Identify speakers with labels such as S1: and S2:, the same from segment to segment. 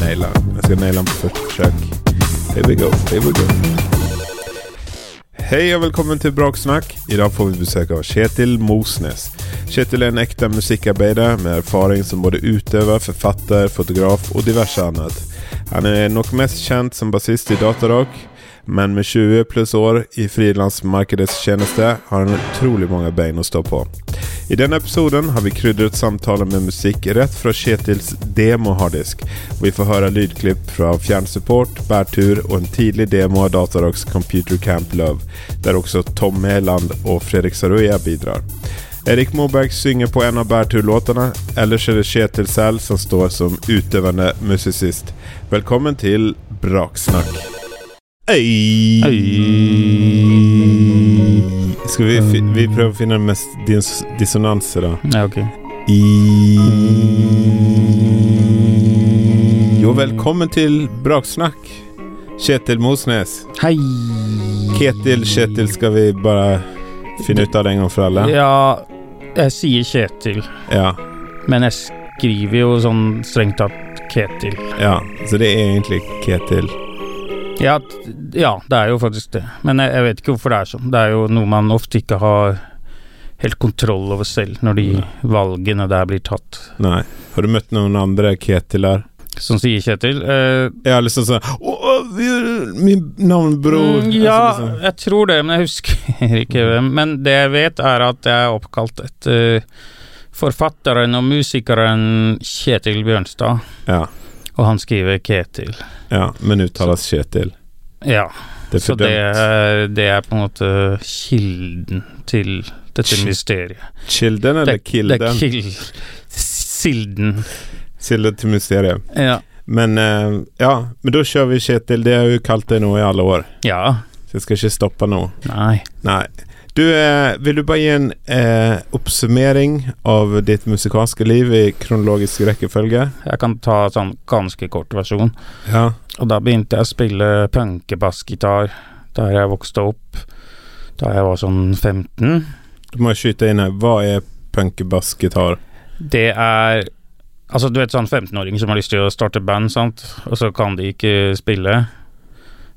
S1: naile den. Jeg skal naile den på første forsøk. Here we go, here we go. Hei og velkommen til Braksnakk. I dag får vi besøk av Kjetil Mosnes. Kjetil er en ekte musikkarbeider med erfaring som både utøver, forfatter, fotograf og diverse annet. Han er nok mest kjent som bassist i Datarock, men med 20 pluss år i frilansmarkedets tjeneste har han utrolig mange bein å stå på. I denne episoden har vi krydret samtalen med musikk rett fra Kjetils demoharddisk. Vi får høre lydklipp fra fjernsupport, bærtur og en tidlig demo av Datarocks Computer Camp Love, der også Tom Mæland og Fredrik Saroya bidrar. Erik Moberg synger på en av bærturlåtene, ellers er det Kjetil selv som står som utøvende musisist. Velkommen til Braksnakk. Øy. Skal vi, fi vi prøve å finne den mest dis dissonanse, da?
S2: Ja, ok.
S1: I Jo, velkommen til Braksnakk. Kjetil Mosnes.
S2: Hei!
S1: Ketil, Kjetil, skal vi bare finne ut av det en gang for alle?
S2: Ja, jeg sier Kjetil,
S1: Ja.
S2: men jeg skriver jo sånn strengt tatt Ketil.
S1: ja. Så det er egentlig Ketil.
S2: Ja, t- ja, det er jo faktisk det. Men jeg, jeg vet ikke hvorfor det er sånn. Det er jo noe man ofte ikke har helt kontroll over selv, når de
S1: Nei.
S2: valgene der blir tatt.
S1: Nei. Har du møtt noen andre Ketiler?
S2: Som sier Kjetil. Eh,
S1: Ja, liksom sånn Å, å, vi- min navnbror
S2: mm, ja,
S1: Altså, liksom. Mm.
S2: jeg tror det, men jeg husker ikke hvem. Men det jeg vet, er at jeg er oppkalt etter forfatteren og musikeren Kjetil Bjørnstad.
S1: liksom. ja,
S2: Og han skriver Ketil.
S1: ja. Men uttales Kjetil.
S2: Ja,
S1: Det er
S2: så det
S1: fordømt.
S2: er, det er på en måte kilden til dette
S1: Ki-
S2: mysteriet.
S1: Kilden eller
S2: Det, det er
S1: Kilden?
S2: kild... Silden.
S1: Kilden til mysteriet.
S2: Ja.
S1: Men eh, ja, men da kjører vi Kjetil. Det har jeg jo kalt deg nå i alle år,
S2: ja.
S1: så jeg skal ikke stoppe nå.
S2: Nei.
S1: Nei. Du, eh, vil du bare gi en eh, oppsummering av ditt musikalske liv i kronologisk rekkefølge?
S2: Jeg kan ta sånn ganske kort versjon.
S1: Ja.
S2: Og da begynte jeg å spille punkebassgitar der jeg vokste opp. Da jeg var sånn 15.
S1: Du må jeg skyte inn her. Hva er punkebassgitar?
S2: Det er Altså, du vet sånn 15-åring som har lyst til å starte band, sant, og så kan de ikke spille.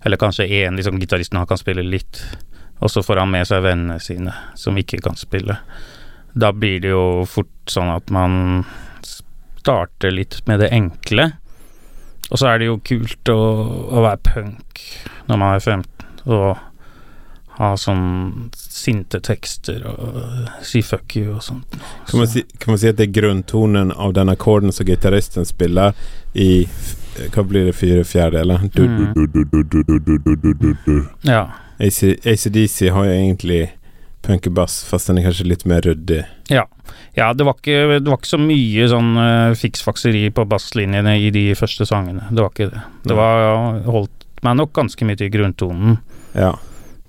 S2: Eller kanskje én liksom, gitaristen han kan spille litt, og så får han med seg vennene sine som ikke kan spille. Da blir det jo fort sånn at man starter litt med det enkle. Og så er det jo kult å, å være punk når man er 15 og ha sånn sinte tekster og si fuck you og sånt.
S1: Kan man, si, kan man si at det er grunntonen av den akkorden som gitaristen spiller i f- Hva blir det, fire fjerdedeler? Du-
S2: Mm.
S1: du- du- du- du- du- du- du- du- du- du.
S2: Ja.
S1: AC ACDC har jo egentlig punkebass, fast den er kanskje litt mer ryddig.
S2: Ja, det var ikke, det var ikke så mye sånn eh, fiksfakseri på basslinjene i de første sangene. Det var ikke det. Det var, ja, holdt meg nok ganske mye til grunntonen.
S1: Ja.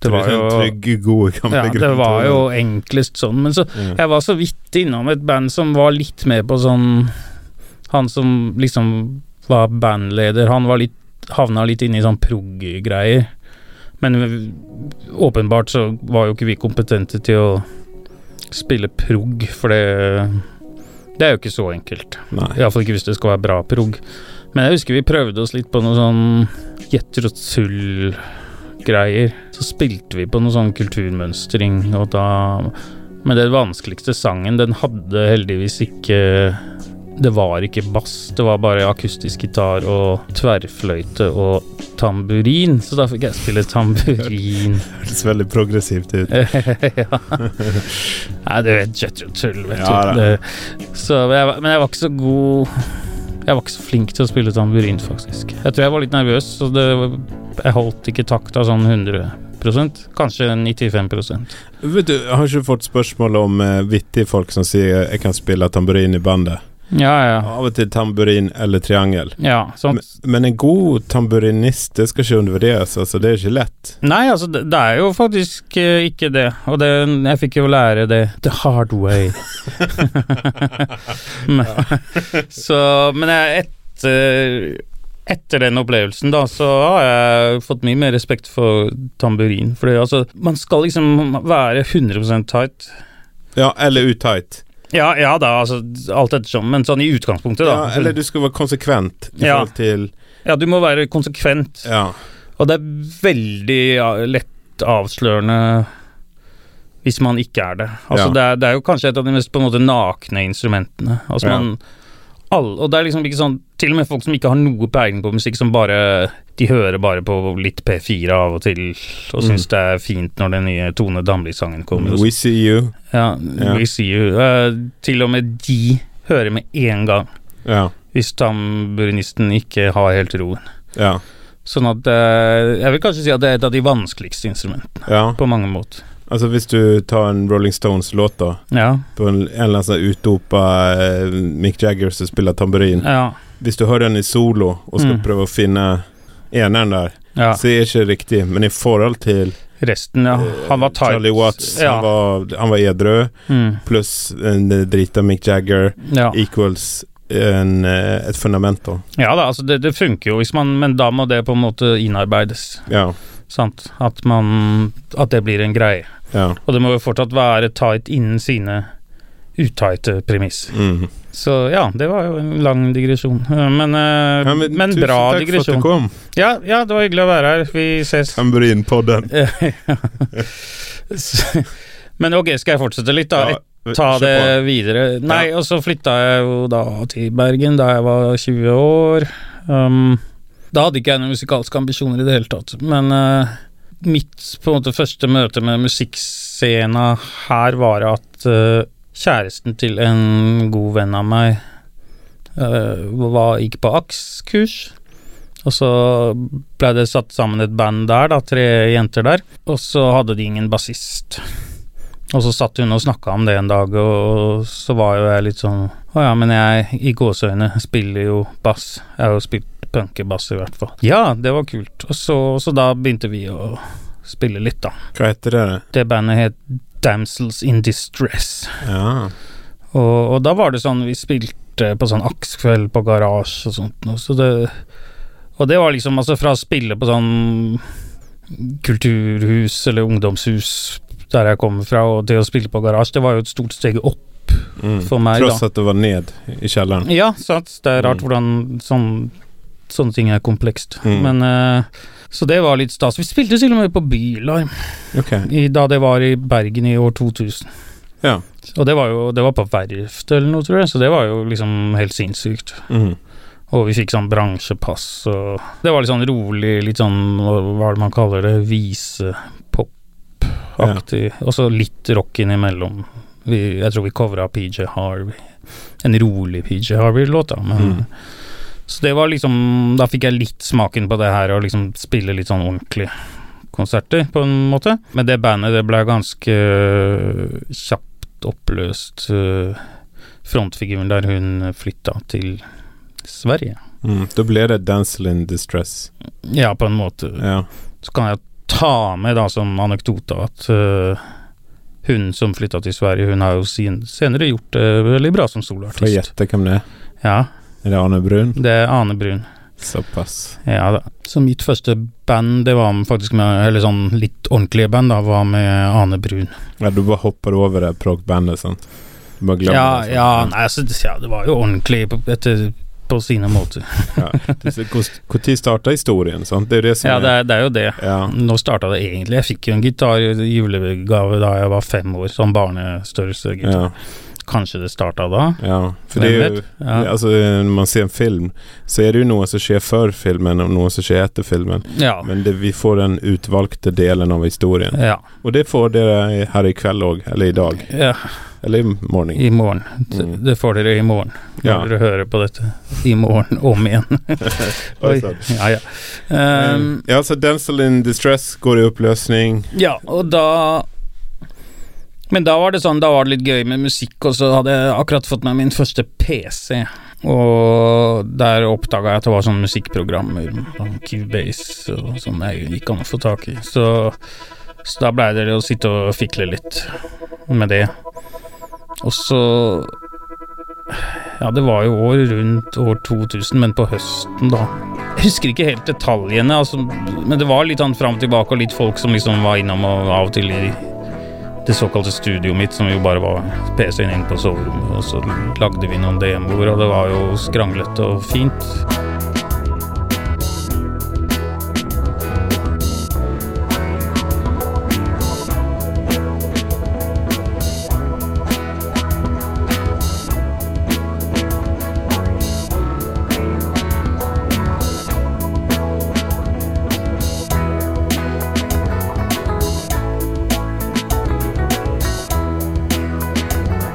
S2: Det var jo,
S1: trygg, god, gamle
S2: ja, det var jo enklest sånn. Men så,
S1: ja.
S2: jeg var så vidt innom et band som var litt med på sånn Han som liksom var bandleder, han var litt, havna litt inne i sånn prog-greier. Men vi- åpenbart så var jo ikke vi kompetente til å spille prog, for det Det er jo ikke så enkelt.
S1: Nei.
S2: Iallfall ikke hvis det skal være bra prog. Men jeg husker vi prøvde oss litt på noe sånn jetter og tull-greier. Så spilte vi på noe sånn kulturmønstring, og da Men den vanskeligste sangen, den hadde heldigvis ikke Det var ikke bass, det var bare akustisk gitar og tverrfløyte og tamburin, så da fikk jeg spille tamburin.
S1: Hørtes veldig progressivt ut.
S2: ja. Nei, du vet Jetter og tull, vet
S1: Ja, da.
S2: du. Det, så, men, jeg, var- men jeg var ikke så god Jeg var ikke så flink til å spille tamburin, faktisk. Jeg tror jeg var litt nervøs, så det, jeg holdt ikke takta sånn 100 Kanskje 95
S1: Vet du, Har ikke du fått spørsmål om eh, vittige folk som sier 'jeg kan spille tamburin i bandet'?
S2: Ja, ja.
S1: Av og til tamburin eller triangel.
S2: ja sånn.
S1: Men, men en god tamburinist, det skal ikke undervurderes. Altså, det er ikke lett.
S2: Nei, altså, det, det er jo faktisk eh, ikke det. Og det, jeg fikk jo lære det the hard way. men, så, men jeg, etter, etter den opplevelsen, da, så har jeg fått mye mer respekt for tamburin. Fordi altså, man skal liksom være 100 tight.
S1: Ja, eller utight.
S2: Ja, ja da, altså alt ettersom, men sånn i utgangspunktet, da.
S1: Ja, eller du skal være konsekvent i
S2: Ja.
S1: forhold til
S2: Ja, du må være konsekvent,
S1: Ja.
S2: og det er veldig ja, lett avslørende hvis man ikke er det. Altså,
S1: Ja.
S2: det, er, det er jo kanskje et av de mest på en måte nakne instrumentene. Altså,
S1: Ja.
S2: man, alle, og det er liksom ikke sånn Til og med folk som ikke har noe peiling på musikk, som bare De hører bare på litt P4 av og til, og
S1: Mm.
S2: syns det er fint når den nye Tone Damli-sangen kommer. og
S1: We see you.
S2: Ja,
S1: Mm. Ja.
S2: we see you. Eh, til og med de hører med én gang
S1: Ja.
S2: hvis tamburinisten ikke har helt roen.
S1: Ja.
S2: Sånn at eh, Jeg vil kanskje si at det er et av de vanskeligste instrumentene,
S1: ja.
S2: på mange måter.
S1: Altså hvis du tar en Rolling Stones-låt, da,
S2: Ja.
S1: på en, en eller annen sånn utdopa eh, Mick Jagger som spiller tamburin
S2: Ja.
S1: Hvis du hører den i solo og skal
S2: Mm.
S1: prøve å finne eneren der,
S2: ja.
S1: så er det ikke riktig. Men i forhold til
S2: Resten, ja.
S1: eh,
S2: Han var tight.
S1: Charlie Watts,
S2: Ja.
S1: han, var, han var edru,
S2: Mm.
S1: pluss en drita Mick Jagger
S2: ja.
S1: equals en, eh, et fundament, da.
S2: ja da, altså det, det funker jo, hvis man, men da må det på en måte innarbeides.
S1: Ja.
S2: Sant? At man At det blir en greie.
S1: ja.
S2: Og det må jo fortsatt være tight innen sine utighte premisser.
S1: Mm.
S2: Så ja, det var jo en lang digresjon. Eh, Men, eh,
S1: Ja,
S2: men,
S1: tusen
S2: bra
S1: takk for
S2: digresjon.
S1: at du kom.
S2: Ja, ja, det var hyggelig å være her. Vi ses.
S1: Tamburinpodden.
S2: S- men ok, skal jeg fortsette litt, da?
S1: Ja,
S2: Ta
S1: kjør på.
S2: det videre. Nei, og så flytta jeg jo da til Bergen da jeg var 20 år. Um, da hadde ikke jeg noen musikalske ambisjoner i det hele tatt, men eh, mitt på en måte første møte med musikkscena her var at eh, kjæresten til en god venn av meg eh, var, gikk på AKS-kurs, og så ble det satt sammen et band der, da, tre jenter der, og så hadde de ingen bassist. Og så satt hun og snakka om det en dag, og så var jo jeg litt sånn Å ja, men jeg, i gåseøyne, spiller jo bass. Jeg har jo spilt punkebass, i hvert fall. Ja, det var kult. Og så, så da begynte vi å spille litt, da.
S1: Hva heter det?
S2: Det bandet het Damsels in Distress.
S1: Ja.
S2: Og, og da var det sånn Vi spilte på sånn akskveld på garasje og sånt noe, så det Og det var liksom altså fra å spille på sånn kulturhus eller ungdomshus der jeg kommer fra, og til å spille på garasje, det var jo et stort steg opp
S1: Mm.
S2: for meg,
S1: Tross
S2: da.
S1: at det var ned i kjelleren.
S2: Ja, sant. Det er rart
S1: Mm.
S2: hvordan sånn, sånne ting er komplekst.
S1: Mm.
S2: Men eh, Så det var litt stas. Vi spilte til og med på Bylarm
S1: Ok.
S2: i, da det var i Bergen i år 2000.
S1: Ja.
S2: Og det var jo det var på verft eller noe, tror jeg, så det var jo liksom helt sinnssykt.
S1: Mm.
S2: Og vi fikk sånn bransjepass og Det var litt sånn rolig, litt sånn hva hva er det man kaller det, visepop-aktig. Og så litt rock innimellom. Vi, jeg tror vi covra PJ Harvey. En rolig PJ Harvey-låt, da. Men,
S1: Mm.
S2: Så det var liksom Da fikk jeg litt smaken på det her, å liksom spille litt sånn ordentlig konserter, på en måte. Men det bandet, det ble ganske øh, kjapt oppløst. øh, Frontfiguren der hun flytta til Sverige.
S1: Mm. Da ble det 'Dancel in Distress'.
S2: Ja, på en måte.
S1: Ja.
S2: Så kan jeg ta med da som anekdote at øh, hun som flytta til Sverige, hun har jo sin, senere gjort det veldig bra som
S1: Får jeg
S2: soloartist.
S1: gjette hvem det er?
S2: Ja,
S1: Er det Arne Brun?
S2: det er Ane Brun.
S1: Såpass.
S2: Ja da. Så mitt første band, det var faktisk med Eller sånn litt ordentlige band, da, var med Ane Brun.
S1: Ja, du bare hopper over det prog-bandet, sant? Du bare glemmer det.
S2: Ja,
S1: sant?
S2: ja, nei, altså, ja, det var jo ordentlig på, etter, på sine måter.
S1: Det er så- hvor- Hvor tid starta historien, sant? Det er jo det som
S2: Ja, det er, det er jo det.
S1: er ja.
S2: Nå starta det egentlig. Jeg fikk jo en gitar i julegave da jeg var fem år, sånn barnestørrelse-gitar.
S1: ja,
S2: Kanskje det starta da?
S1: ja. For
S2: Hvem
S1: det er jo
S2: vet? Ja.
S1: Altså, når man ser en film, så er det jo noe som skjer før filmen, og noe som skjer etter filmen.
S2: Ja.
S1: Men det, vi får den utvalgte delen av historien.
S2: ja.
S1: Og det får dere her i kveld òg, eller i dag.
S2: ja.
S1: Eller i morgen.
S2: I morgen. Det,
S1: Mm.
S2: det får dere i morgen. Når
S1: Ja.
S2: dere hører på dette i morgen om igjen. Oi. Ja, ja. Ehm,
S1: ja, så Denzel in Distress går i oppløsning.
S2: ja, og da Men da var det sånn, da var det litt gøy med musikk, og så hadde jeg akkurat fått meg min første PC. Og der oppdaga jeg at det var sånne musikkprogrammer, sånn Cubase og sånn, det gikk an å få tak i. Så, så da blei det å sitte og fikle litt med det. Og så Ja, det var jo år rundt år 2000, men på høsten, da. Jeg husker ikke helt detaljene, altså, men det var litt sånn fram og tilbake, og litt folk som liksom var innom og av og til i det såkalte studioet mitt, som jo bare var PC-en inn på soverommet. Og så lagde vi noen demoer, og det var jo skranglete og fint.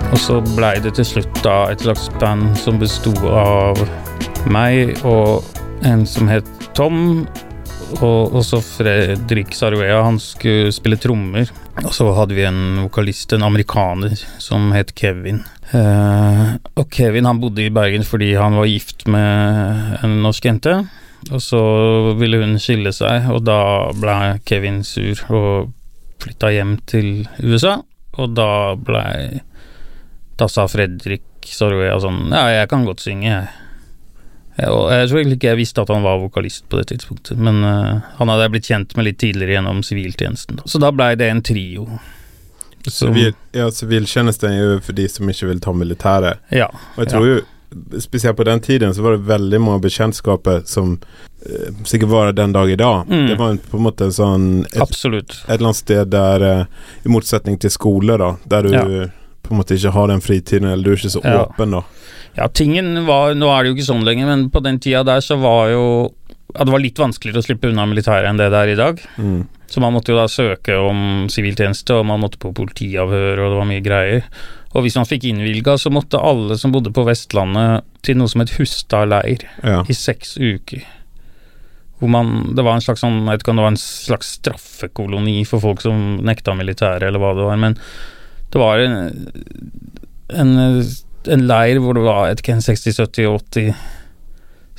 S2: Og så blei det til slutt da et slags band som besto av meg og en som het Tom. Og og så Fredrik Saruea, han skulle spille trommer. Og så hadde vi en vokalist, en amerikaner, som het Kevin. Eh, og Kevin han bodde i Bergen fordi han var gift med en norsk jente. Og så ville hun skille seg, og da ble Kevin sur og flytta hjem til USA. Og da blei da sa Fredrik Sorgoya sånn Ja, jeg kan godt synge, jeg. Ja, Og jeg tror egentlig ikke jeg visste at han var vokalist på det tidspunktet, men eh, han hadde jeg blitt kjent med litt tidligere gjennom siviltjenesten. da. Så da blei det en trio. Som-
S1: Sivil, ja, siviltjenesten er jo for de som ikke vil ta militæret.
S2: Ja.
S1: Og jeg tror jo, spesielt på den tiden, så var det veldig mange bekjentskaper som eh, sikkert var det den dag i dag.
S2: Mm.
S1: Det var en, på en måte en sånn et,
S2: Absolutt.
S1: et eller annet sted der eh, I motsetning til skole, da, der du på en måte ikke har den fritiden, eller du er ikke så
S2: Ja.
S1: åpen, da.
S2: Ja, tingen var Nå er det jo ikke sånn lenger, men på den tida der så var jo ja, Det var litt vanskeligere å slippe unna militæret enn det det er i dag.
S1: Mm.
S2: Så man måtte jo da søke om siviltjeneste, og man måtte på politiavhør, og det var mye greier. Og hvis man fikk innvilga, så måtte alle som bodde på Vestlandet til noe som het Hustadleir
S1: Ja.
S2: i seks uker. Hvor man, det var en slags, sånn, jeg vet ikke om det var en slags straffekoloni for folk som nekta militæret, eller hva det var, men det var en, en, en leir hvor det var jeg vet ikke, en 60, 70, 80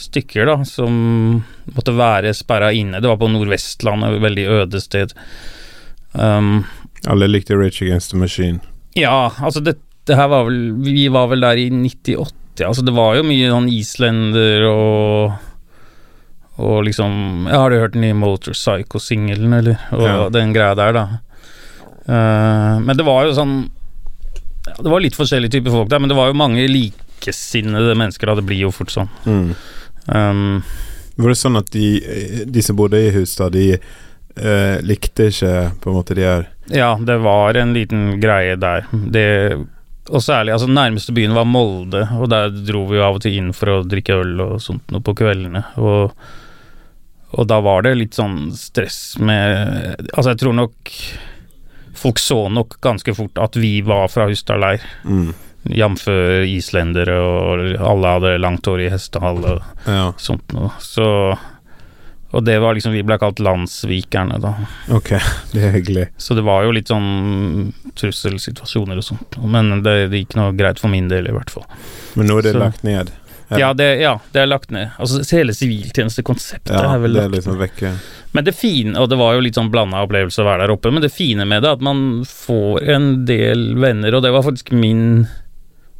S2: stykker da, som måtte være sperra inne. Det var på Nordvestlandet, et veldig øde sted. Um,
S1: Alle likte Rage Against the Machine.
S2: ja, altså det, det her var vel Vi var vel der i 98, ja. altså det var jo mye sånn islender og Og liksom ja, Har du hørt den nye Motorpsycho-singelen, eller? Og
S1: Ja.
S2: den greia der, da. Eh, men det var jo sånn ja, Det var litt forskjellige typer folk der, men det var jo mange likesinnede mennesker, da. Det blir jo fort sånn.
S1: Mm.
S2: Um,
S1: Var det sånn at de, eh, de som bodde i Hustad, de eh, likte ikke på en måte de her
S2: Ja, det var en liten greie der. Det, og særlig, altså nærmeste byen var Molde, og der dro vi jo av og til inn for å drikke øl og sånt noe på kveldene. Og, og da var det litt sånn stress med Altså, jeg tror nok folk så nok ganske fort at vi var fra Hustad leir,
S1: mm.
S2: jf. islendere, og alle hadde langt hår i hestehale og
S1: Ja,
S2: sånt noe. Så Og det var liksom Vi ble kalt landssvikerne, da.
S1: ok. Det er hyggelig.
S2: Så det var jo litt sånn trusselsituasjoner og sånt, men det, det gikk nå greit for min del, i hvert fall.
S1: Men nå er det
S2: Så-
S1: lagt ned. Ja.
S2: Ja, det, ja, det er lagt ned. Altså hele siviltjenestekonseptet
S1: Ja,
S2: er vel
S1: det er
S2: lagt
S1: liksom vekke.
S2: Men det fine, og det var jo litt sånn blanda opplevelse å være der oppe, men det fine med det er at man får en del venner, og det var faktisk min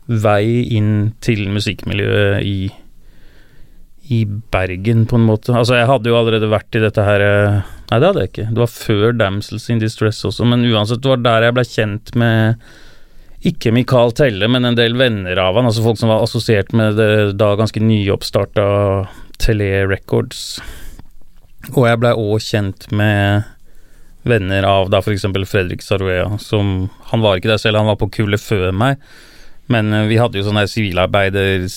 S2: vei inn til musikkmiljøet i i Bergen, på en måte. Altså, jeg hadde jo allerede vært i dette her eh, Nei, det hadde jeg ikke. Det var før Damsels in Distress også, men uansett, det var der jeg ble kjent med ikke Michael Telle, men en del venner av han, altså folk som var assosiert med det da ganske nyoppstarta Tele Records. Og jeg blei òg kjent med venner av da f.eks. Fredrik Saruea, som Han var ikke der selv, han var på kullet før meg, men eh, vi hadde jo sånne her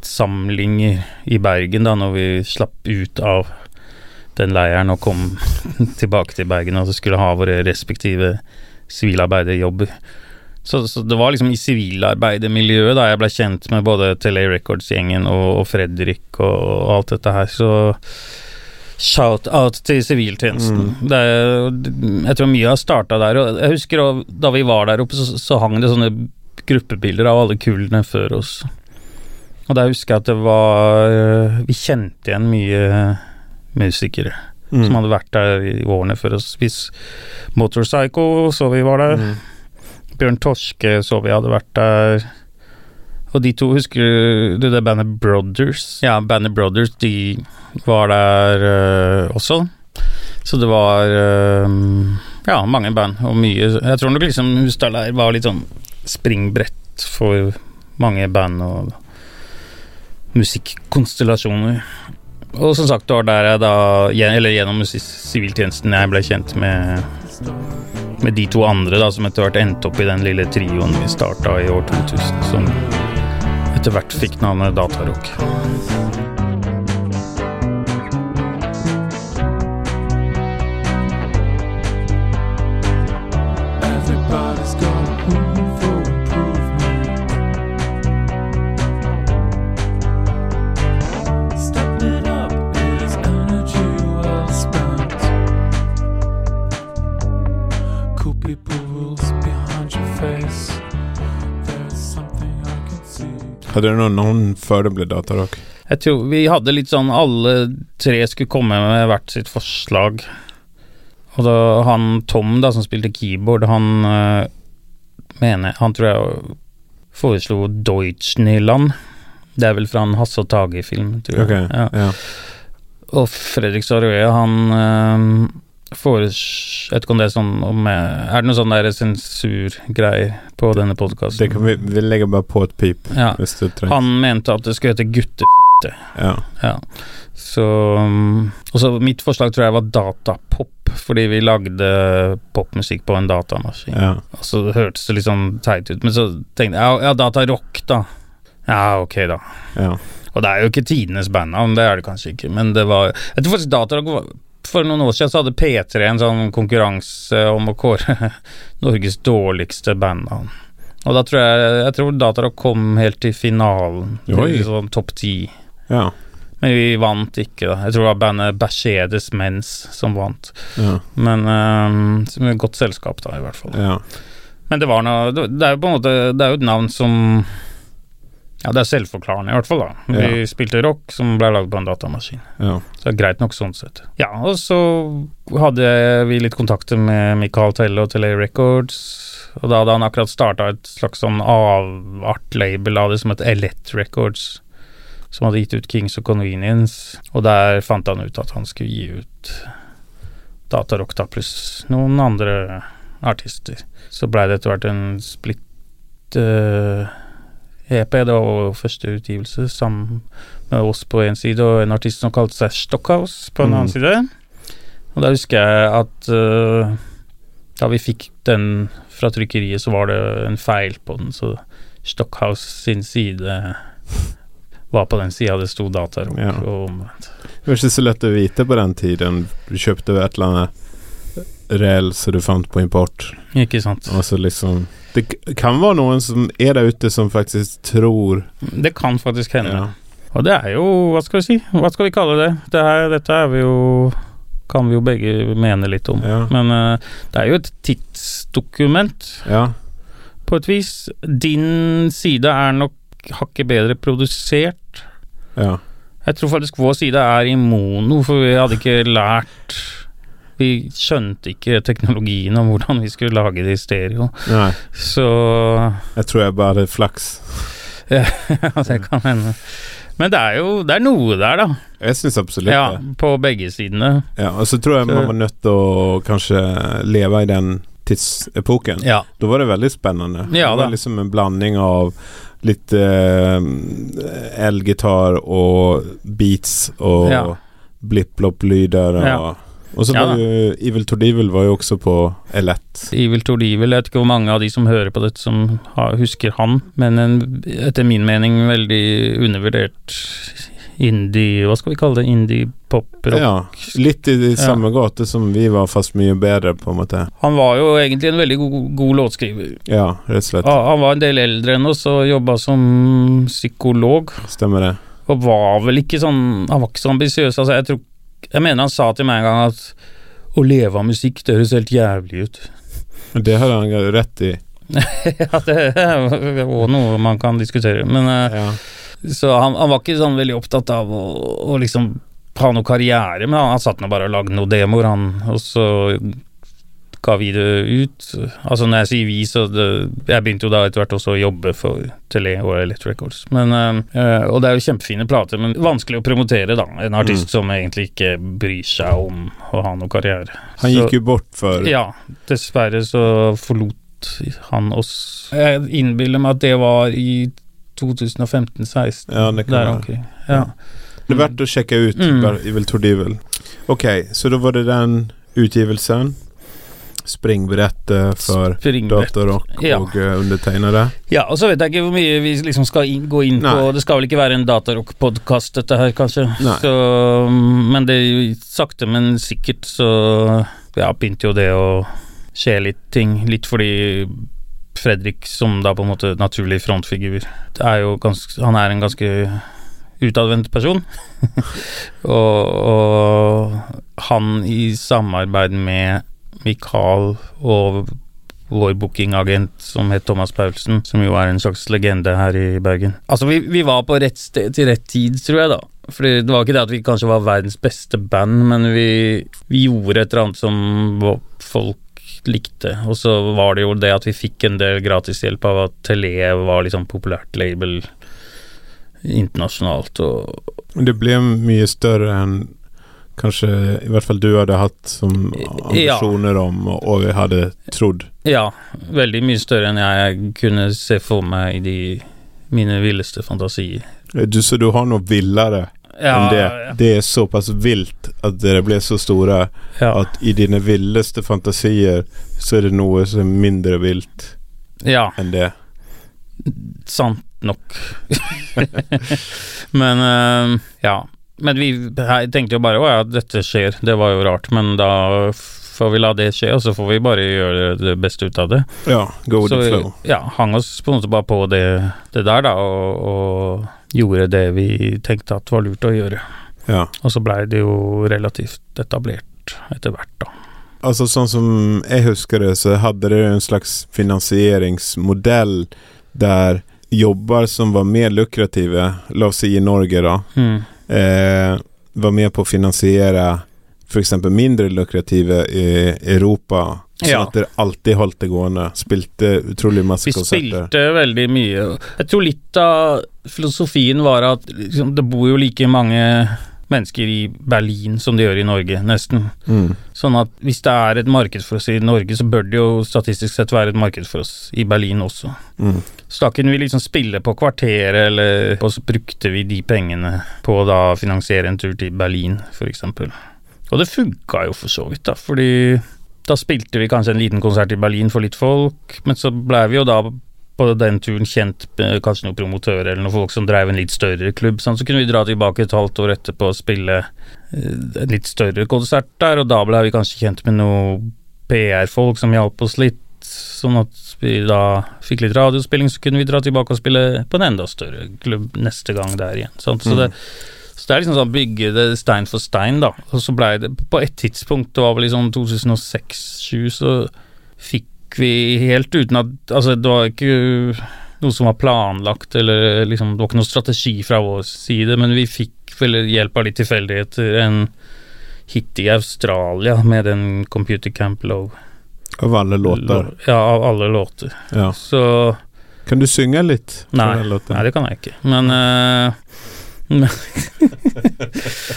S2: sivilarbeidersamlinger i Bergen da når vi slapp ut av den leiren og kom tilbake til Bergen og så skulle ha våre respektive sivilarbeiderjobber. Så, så det var liksom i sivilarbeidermiljøet da jeg blei kjent med både Tele Records-gjengen og, og Fredrik og, og alt dette her, så Shout-out til siviltjenesten. Det er- Jeg tror mye har starta der. Og jeg husker også, da vi var der oppe, så, så hang det sånne gruppebilder av alle kullene før oss. Og da husker jeg at det var øh, Vi kjente igjen mye musikere
S1: Mm.
S2: som hadde vært der i årene før oss. Hvis Motorpsycho så vi var der.
S1: Mm.
S2: Bjørn Torske så vi hadde vært der. Og de to, husker du det bandet Brothers? Ja, bandet Brothers, de eh, var der øh, også. Så det var øh, Ja, mange band, og mye Jeg tror nok liksom Hustad der var litt sånn springbrett for mange band og musikkonstellasjoner. Og som sagt, det var der jeg da gjen- Eller gjennom musi- siviltjenesten jeg ble kjent med med de to andre da som etter hvert endte opp i den lille trioen vi starta i år 2000, som etter hvert fikk navnet Datarock.
S3: Everybody's got room for improvement. Stepping up is energy well spent. Cool people rules behind your face. There's something I can see.
S1: Hade du någon, någon før det ble datarock?
S2: Jeg tror vi hadde litt sånn Alle tre skulle komme med hvert sitt forslag. Og da han Tom, da, som spilte keyboard, han øh, mener Han tror jeg foreslo Deutschnyland. Det er vel fra en Hasse og Tage-film, tror jeg.
S1: Okej,
S2: Ja.
S1: ja.
S2: Og Fredrik Sarøe, han øh, foreslår Jeg vet ikke om det er sånn om jeg, Er det noe sånn der sensurgreier på denne
S1: Det
S2: podkasten?
S1: kan vi, vi lägger bara på ett pip.
S2: Ja.
S1: Hvis det trengs.
S2: Han mente at det skulle hete Gutte...
S1: Ja.
S2: Så um, Og så mitt forslag tror jeg var datapop, fordi vi lagde popmusikk på en datamaskin.
S1: Ja.
S2: Og så hørtes det litt sånn teit ut, men så tenkte jeg ja, ja datarock, da. Ja, ok, da.
S1: Ja.
S2: Og det er jo ikke tidenes bandnavn, det er det kanskje ikke, men det var Jeg tror faktisk datarock var For noen år siden så hadde P3 en sånn konkurranse om å kåre Norges dårligste bandnavn. Og da tror jeg Jeg tror datarock kom helt til finalen,
S1: Oi.
S2: til sånn topp ti.
S1: Ja.
S2: Men vi vant ikke, da. Jeg tror det var bandet Bercedes Mens som vant.
S1: Ja.
S2: Men ehm, som er et godt selskap, da, i hvert fall.
S1: Ja.
S2: Men det var noe Det det er jo på en måte Det er jo et navn som Ja, det er selvforklarende, i hvert fall, da. Vi
S1: Ja.
S2: spilte rock som ble lagd på en datamaskin.
S1: Ja.
S2: Så det er greit nok sånn sett. Ja, og så hadde vi litt kontakter med Michael Telle og Tele Records. Og da hadde han akkurat starta et slags sånn avart-label av det som het Elett Records. Som hadde gitt ut Kings of Convenience, og der fant han ut at han skulle gi ut Datarock da pluss noen andre artister. Så blei det etter hvert en splitt eh, EP, det var vår første utgivelse, sammen med oss på en side og en artist som kalte seg Stockhouse på en
S1: Mm.
S2: annen side. Og da husker jeg at eh, da vi fikk den fra trykkeriet, så var det en feil på den, så Stockhouse sin side var på den sida det sto datarom.
S1: Ja.
S2: Og omvendt.
S1: Det var ikke så lett å vite på den tiden. Du kjøpte et eller annet reell som du fant på import.
S2: Ikke sant.
S1: Og så liksom Det k- kan være noen som er der ute som faktisk tror
S2: Det kan faktisk hende.
S1: Ja.
S2: Og det er jo Hva skal vi si? Hva skal vi kalle det? det her, dette er vi jo kan vi jo begge mene litt om.
S1: Ja.
S2: Men eh, det er jo et tidsdokument.
S1: ja.
S2: på et vis. Din side er nok hakket bedre produsert.
S1: Ja.
S2: Jeg tror faktisk vår side er i mono, for vi hadde ikke lært Vi skjønte ikke teknologien om hvordan vi skulle lage det i stereo.
S1: Nei.
S2: Så
S1: Jeg tror jeg bare hadde flaks.
S2: ja, det kan hende. Men det er jo det er noe der, da.
S1: Jeg syns absolutt
S2: Ja,
S1: det.
S2: på begge sidene.
S1: Ja, og så tror jeg
S2: Så-
S1: man var nødt til å kanskje leve i den tidsepoken.
S2: Ja.
S1: Da var det veldig spennende. det
S2: Ja,
S1: var
S2: da.
S1: liksom en blanding av litt eh, elgitar og beats og
S2: Ja.
S1: blipp-blopp-lyder og
S2: Ja.
S1: Og så
S2: Ja,
S1: var
S2: da.
S1: jo Evil Tordivel var jo også på Elett.
S2: Evil Tordivel. Jeg vet ikke hvor mange av de som hører på dette som har, husker han, men en, etter min mening veldig undervurdert indie Hva skal vi kalle det? Indie pop-rock.
S1: Ja, litt i i samme gate som vi var, fast mye bedre, på en måte.
S2: Han var jo egentlig en veldig god, god låtskriver.
S1: Ja, rett og slett.
S2: Han han var en del eldre enn oss og jobba som psykolog,
S1: Stemmer det.
S2: og var vel ikke sånn Han var ikke så ambisiøs. Altså, jeg, tror, jeg mener han sa til meg en gang at å leve av musikk, det høres helt jævlig ut.
S1: Det har han jo rett i.
S2: ja, det er jo noe man kan diskutere, men eh,
S1: Ja.
S2: Så han, han var ikke sånn veldig opptatt av å, å liksom ha noe karriere, men han, han satt nå bare og lagde noen demoer, han. Og så ga vi det ut. Altså når jeg sier vi, så det, Jeg begynte jo da etter hvert også å jobbe for Tele og Elect Records. Men, eh, og det er jo kjempefine plater, men vanskelig å promotere, da. En artist
S1: Mm.
S2: som egentlig ikke bryr seg om å ha noe karriere.
S1: Han
S2: Så-
S1: gick ju bort för...
S2: Ja, dessverre så forlot han oss. Jeg innbiller meg at det var i 2015-16.
S1: Ja, det kan
S2: Der
S1: vara.
S2: omkring. Ja.
S1: Det är värt att checka ut
S2: Mm.
S1: mm. Evil Tordivel. Okej, så då var det den utgivelsen. Springberätte för
S2: Springbett.
S1: Dator och,
S2: Ja.
S1: och eh, undertecknare.
S2: Ja, og så vet jeg ikke hvor mye vi liksom skal inn, gå inn på.
S1: Nei.
S2: Det skal vel ikke være en datarock-podkast, dette her, kanskje.
S1: Nei.
S2: Så, men det sakte, men sikkert så ja, begynte jo det å skje litt ting. Litt fordi Fredrik, som da på en måte naturlig frontfigur, det er jo ganske, han er en ganske utadvendt person. og, og han i samarbeid med Mikael og vår bookingagent som het Thomas Paulsen, som jo er en slags legende her i Bergen. Altså, vi, vi var på rett sted til rett tid, tror jeg, da. Fordi det var ikke det at vi kanskje var verdens beste band, men vi, vi gjorde et eller annet som vo- folk likte. Og så var det jo det at vi fikk en del gratishjelp av at Tele var liksom populært label internasjonalt og
S1: Men Det blev mye større än kanske i vart fall du hade haft som
S2: Ja.
S1: ambitioner om och, och hade trodd.
S2: Ja, veldig mye større enn jeg kunne se for meg i de mine villeste fantasier.
S1: Du, så du har nog villare
S2: Ja,
S1: än det. Det är så pass vilt att det blev så stora
S2: ja,
S1: att i dina villaste fantasier så är det något som är mindre vilt
S2: ja,
S1: än det.
S2: sant nok. Men eh, ja. Men vi jeg tenkte jo bare å ja, dette skjer, det var jo rart. Men da får vi la det skje, og så får vi bare gjøre det beste ut av det.
S1: Ja, go with
S2: så
S1: the
S2: vi
S1: flow.
S2: ja, hang oss på en måte bare på det, det der, da, og, og gjorde det vi tenkte at var lurt å gjøre.
S1: Ja.
S2: Og så blei det jo relativt etablert etter hvert, da.
S1: Alltså sånn som jag huskar det så hade det en slags finansieringsmodell där jobbar som var mer lukrativa, la oss säga i Norge då, eh, var med på att finansiera för exempel mindre lukrativa i Europa. Så
S2: Ja.
S1: att det alltid höll det gående. Spilte otroligt massa
S2: Vi
S1: konserter.
S2: spilte veldig mye. Jeg tror litt av filosofien var at liksom, det bor jo like mange mennesker i Berlin som det gjør i Norge, nesten.
S1: Mm.
S2: Sånn at hvis det er et marked for oss i Norge, så bør det jo statistisk sett være et marked for oss i Berlin også.
S1: Mm.
S2: Så da kunne vi liksom spille på kvarteret, eller Og så brukte vi de pengene på å da finansiere en tur til Berlin, f.eks. Og det funka jo for så vidt, da, fordi da spilte vi kanskje en liten konsert i Berlin for litt folk, men så blei vi jo da på den turen kjent med kanskje noen promotører eller noen folk som drev en litt større klubb, sant? så kunne vi dra tilbake et halvt år etterpå og spille eh, en litt større konsert der, og da blei vi kanskje kjent med noen PR-folk som hjalp oss litt, sånn at vi da fikk litt radiospilling, så kunne vi dra tilbake og spille på en enda større klubb neste gang der igjen. Sant? Så, det, så det er liksom sånn bygge det stein for stein, da. Og så blei det på et tidspunkt, det var vel i sånn 2006-2007, så fikk vi helt uten at Altså, det var ikke noe som var planlagt, eller liksom Det var ikke noe strategi fra vår side, men vi fikk vel hjelp av litt tilfeldigheter en hit i Australia med den Computer Camp Low.
S1: Av alla låtar.
S2: Ja, av alle låter.
S1: Ja.
S2: Så
S1: Kan du synga lite? från
S2: Nej.
S1: den låten?
S2: Nei, det kan jeg ikke. Men eh,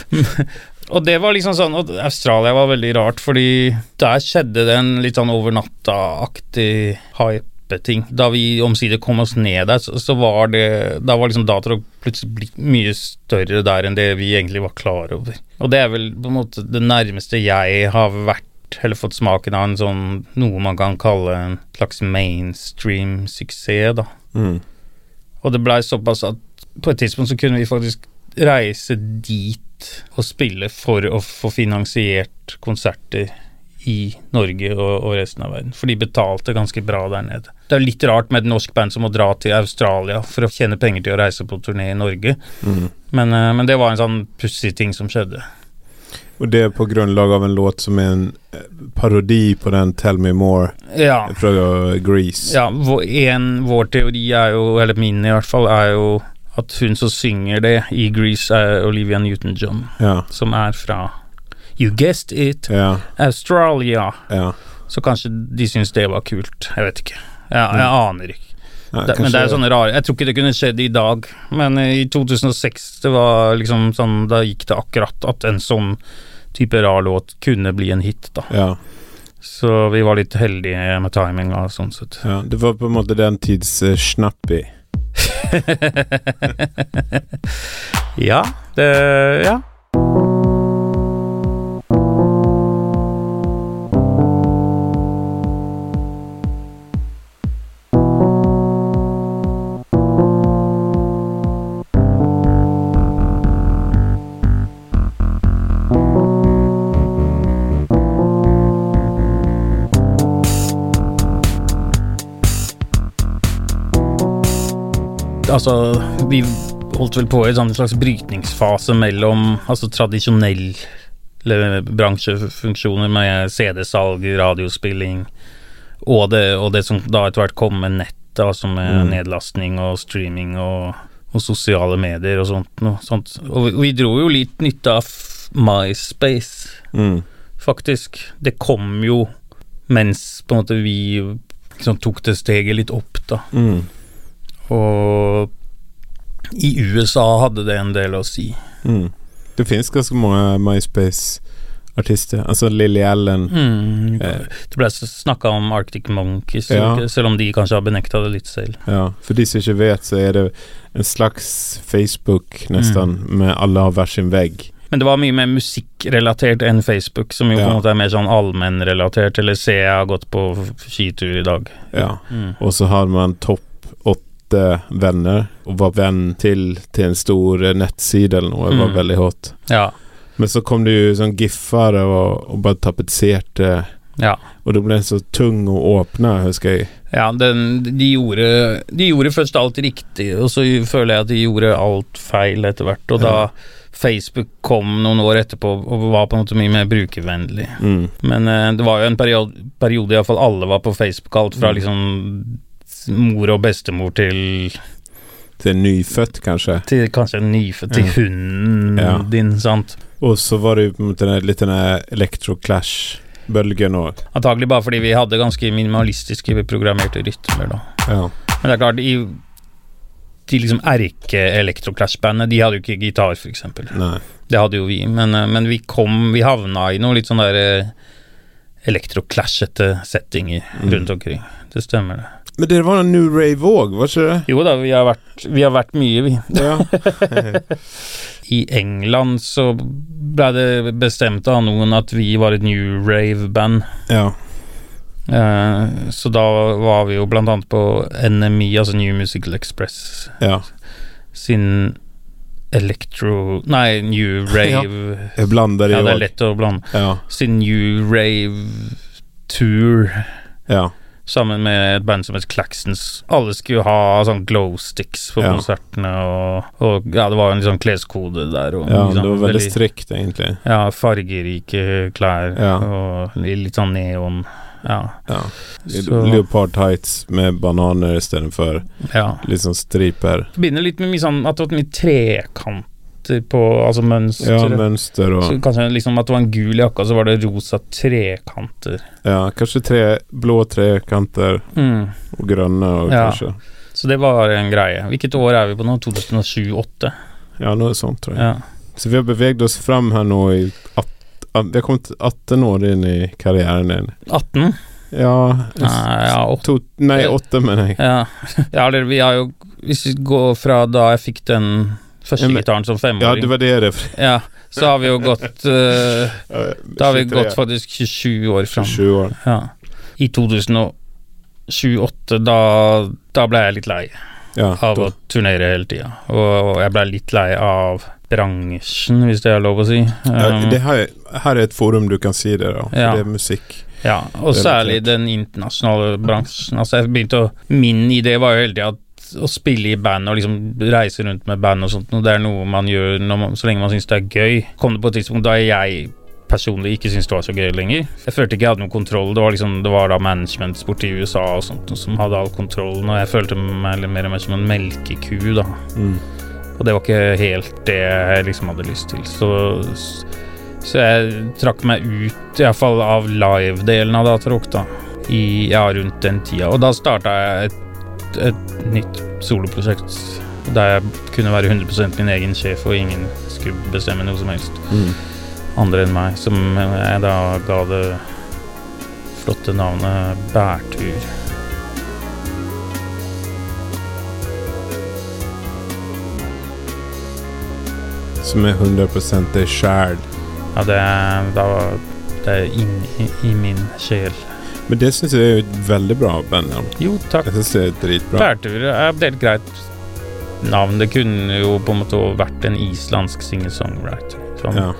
S2: men- Og det var liksom sånn Og Australia var veldig rart, fordi der skjedde det en litt sånn over natta-aktig hype-ting. Da vi omsider kom oss ned der, så, så var det Da var liksom datarock plutselig blitt mye større der enn det vi egentlig var klar over. Og det er vel på en måte det nærmeste jeg har vært eller fått smaken av en sånn noe man kan kalle en slags mainstream suksess, da.
S1: Mm.
S2: Og det blei såpass at på et tidspunkt så kunne vi faktisk reise dit og spille for å få finansiert konserter i Norge og, og resten av verden. For de betalte ganske bra der nede. Det er litt rart med et norsk band som må dra til Australia for å tjene penger til å reise på turné i Norge,
S1: Mm.
S2: men, eh, men det var en sånn pussig ting som skjedde.
S1: Och det är på grundlag av en låt som är en eh, parodi på den Tell Me More
S2: Ja.
S1: från eh, Grease.
S2: Ja, vår, en, vår teori er jo, eller min i hvert fall, er jo at hun som synger det i Grease, er Olivia Newton-John,
S1: Ja.
S2: som er fra You guessed it,
S1: Ja.
S2: Australia.
S1: ja.
S2: Så kanskje de syns det var kult. Jeg vet ikke. Jeg, jeg aner ikke.
S1: Nei,
S2: det, men det er
S1: kanskje-
S2: sånne rare Jeg tror ikke det kunne skjedd i dag, men eh, i 2006 det var liksom sånn Da gikk det akkurat at en sånn type rar låt kunne bli en hit, da.
S1: ja,
S2: Så vi var litt heldige med timinga, sånn sett.
S1: ja, Det var på en måte den tids uh, snappy.
S2: ja, det Ja. Altså, vi holdt vel på i en sånn slags brytningsfase mellom altså tradisjonelle bransjefunksjoner med CD-salg, radiospilling og det, og det som da etter hvert kom med nett, da, som med
S1: Mm.
S2: nedlastning og streaming og, og sosiale medier og sånt. Noe, sånt. Og vi, vi dro jo litt nytte av MySpace
S1: Mm.
S2: faktisk. Det kom jo mens på en måte vi liksom tok det steget litt opp, da.
S1: Mm.
S2: Og i USA hadde det en del å si.
S1: Mm. Det finnes ganske mange MySpace-artister. Altså Lilly Allen. Eh.
S2: Det ble snakka om Arctic Monkeys,
S1: Ja.
S2: ikke? selv om de kanskje har benekta det litt selv.
S1: Ja, for de som ikke vet, så er det en slags Facebook, nesten,
S2: Mm.
S1: med alle har hver sin vegg.
S2: Men det var mye mer musikkrelatert enn Facebook, som jo på
S1: Ja.
S2: en måte er mer sånn allmennrelatert, eller se jeg har gått på skitur i dag.
S1: Ja. Og så har man topp åtte venner, og var venn til, til en stor eh, nettside eller noe. Det var
S2: Mm.
S1: veldig hot.
S2: Ja.
S1: Men så kom det jo sånn giffer og, og bare tapetserte,
S2: Ja.
S1: og det ble så tung å åpne, husker jeg.
S2: Ja, den, de, gjorde, de gjorde først alt riktig, og så føler jeg at de gjorde alt feil etter hvert. Og
S1: Ja.
S2: da Facebook kom noen år etterpå og var på en måte mye mer brukervennlig.
S1: Mm.
S2: Men eh, det var jo en periode, periode iallfall alle var på Facebook, alt fra
S1: Mm.
S2: liksom mor og bestemor til,
S1: Til nyfødt, kanskje.
S2: til kanskje en nyfødt til
S1: Ja.
S2: hunden
S1: Ja.
S2: din, sant.
S1: Og så var det jo på en måte den- litt den electro-clash-bølgen òg.
S2: Antagelig bare fordi vi hadde ganske minimalistiske programmerte rytmer, da.
S1: Ja.
S2: Men det er klart, i de liksom erke-elektroclash-bandene, de hadde jo ikke gitar, for eksempel.
S1: Nei.
S2: Det hadde jo vi, men, eh, men vi kom Vi havna i noe litt sånn der eh, elektroclashete settinger
S1: Mm.
S2: rundt omkring. Det stemmer, det.
S1: Men det var en new rave òg, var ikke det?
S2: Jo da, vi har vært, vi har vært mye, vi.
S1: Ja.
S2: I England så ble det bestemt av noen at vi var et new rave-band.
S1: ja.
S2: Eh, så da var vi jo blant annet på NMI, altså New Musical Express,
S1: ja.
S2: sin Electro Nei, New Rave
S1: Jeg blander
S2: Ja,
S1: det
S2: det er
S1: òg.
S2: lett å blande.
S1: Ja.
S2: Sin New Rave Tour
S1: Ja.
S2: sammen med et band som het Claxons. Alle skulle ha sånn glow sticks på
S1: Ja.
S2: konsertene, og, og ja, det var jo en liksom kleskode der. Og,
S1: ja.
S2: liksom,
S1: Det var veldig strikt, egentlig.
S2: ja, fargerike klær
S1: Ja.
S2: og litt sånn neon. Ja.
S1: Ja.
S2: Så,
S1: Leopard tights med bananer istedenfor
S2: ja.
S1: litt sånn striper.
S2: Forbinder litt med mye sånn at det var mye trekanter på Altså mønstre.
S1: Ja, mønster
S2: så
S1: og
S2: kanskje liksom at det var en gul jakke, og så var det rosa trekanter.
S1: Ja, kanskje tre blå trekanter
S2: Mm.
S1: og grønne og
S2: Ja.
S1: kanskje
S2: Så det var en greie. Hvilket år er vi på nå? 2007-2008?
S1: Ja, noe sånt, tror jeg.
S2: Ja.
S1: Så vi har beveget oss fram her nå i at, at, Vi har kommet 18 år inn i karrieren din.
S2: 18?
S1: Ja
S2: Nei, Ah. ja, åtte.
S1: to, Nei, 8, mener jeg.
S2: Ja, ja eller vi har jo Hvis vi går fra da jeg fikk den første
S1: Ja, men-
S2: gitaren som
S1: Ja, det
S2: femåring, ja,
S1: var det det
S2: så har vi jo gått eh,
S1: Ja,
S2: Da har vi
S1: 23,
S2: gått faktisk 27 år fram.
S1: 27 år.
S2: Ja. I 2028, da, da ble jeg litt lei
S1: Ja,
S2: av
S1: da-
S2: å turnere hele tida. Og jeg ble litt lei av bransjen, hvis det er lov å si.
S1: Ja,
S2: Um,
S1: det her, her er et forum du kan si det, da. For
S2: Ja.
S1: Det er musikk.
S2: Ja, og
S1: Relatert.
S2: særlig den internasjonale bransjen. Altså jeg begynte å, Min idé var jo hele tida at å spille i band og liksom reise rundt med band og sånt, og det er noe man gjør når man, så lenge man syns det er gøy. Kom det på et tidspunkt da jeg personlig ikke syntes det var så gøy lenger. Jeg følte ikke jeg hadde noen kontroll. Det var, liksom, det var da management borti USA og sånt som hadde all kontrollen, og jeg følte meg litt mer og mer som en melkeku, da.
S1: Mm.
S2: Og det var ikke helt det jeg liksom hadde lyst til. Så, Så jeg trakk meg ut, iallfall av live-delen av Datarok, da. I ja, rundt den tida. Og da starta jeg et, et nytt soloprosjekt der jeg kunne være 100 min egen sjef, og ingen skulle bestemme noe som helst
S1: Mm.
S2: andre enn meg, som jeg da ga det flotte navnet Bærtur.
S1: Som er 100 deg sjæl.
S2: Ja, det er, da, var- det er inni i min sjel.
S1: Men det syns jeg er jo et veldig bra band. ja.
S2: Jo, takk.
S1: Jeg syns det er dritbra.
S2: Bærtur er et helt greit navn. Det kunne jo på en måte vært en islandsk singer-songwriter. Sånn.
S1: Ja.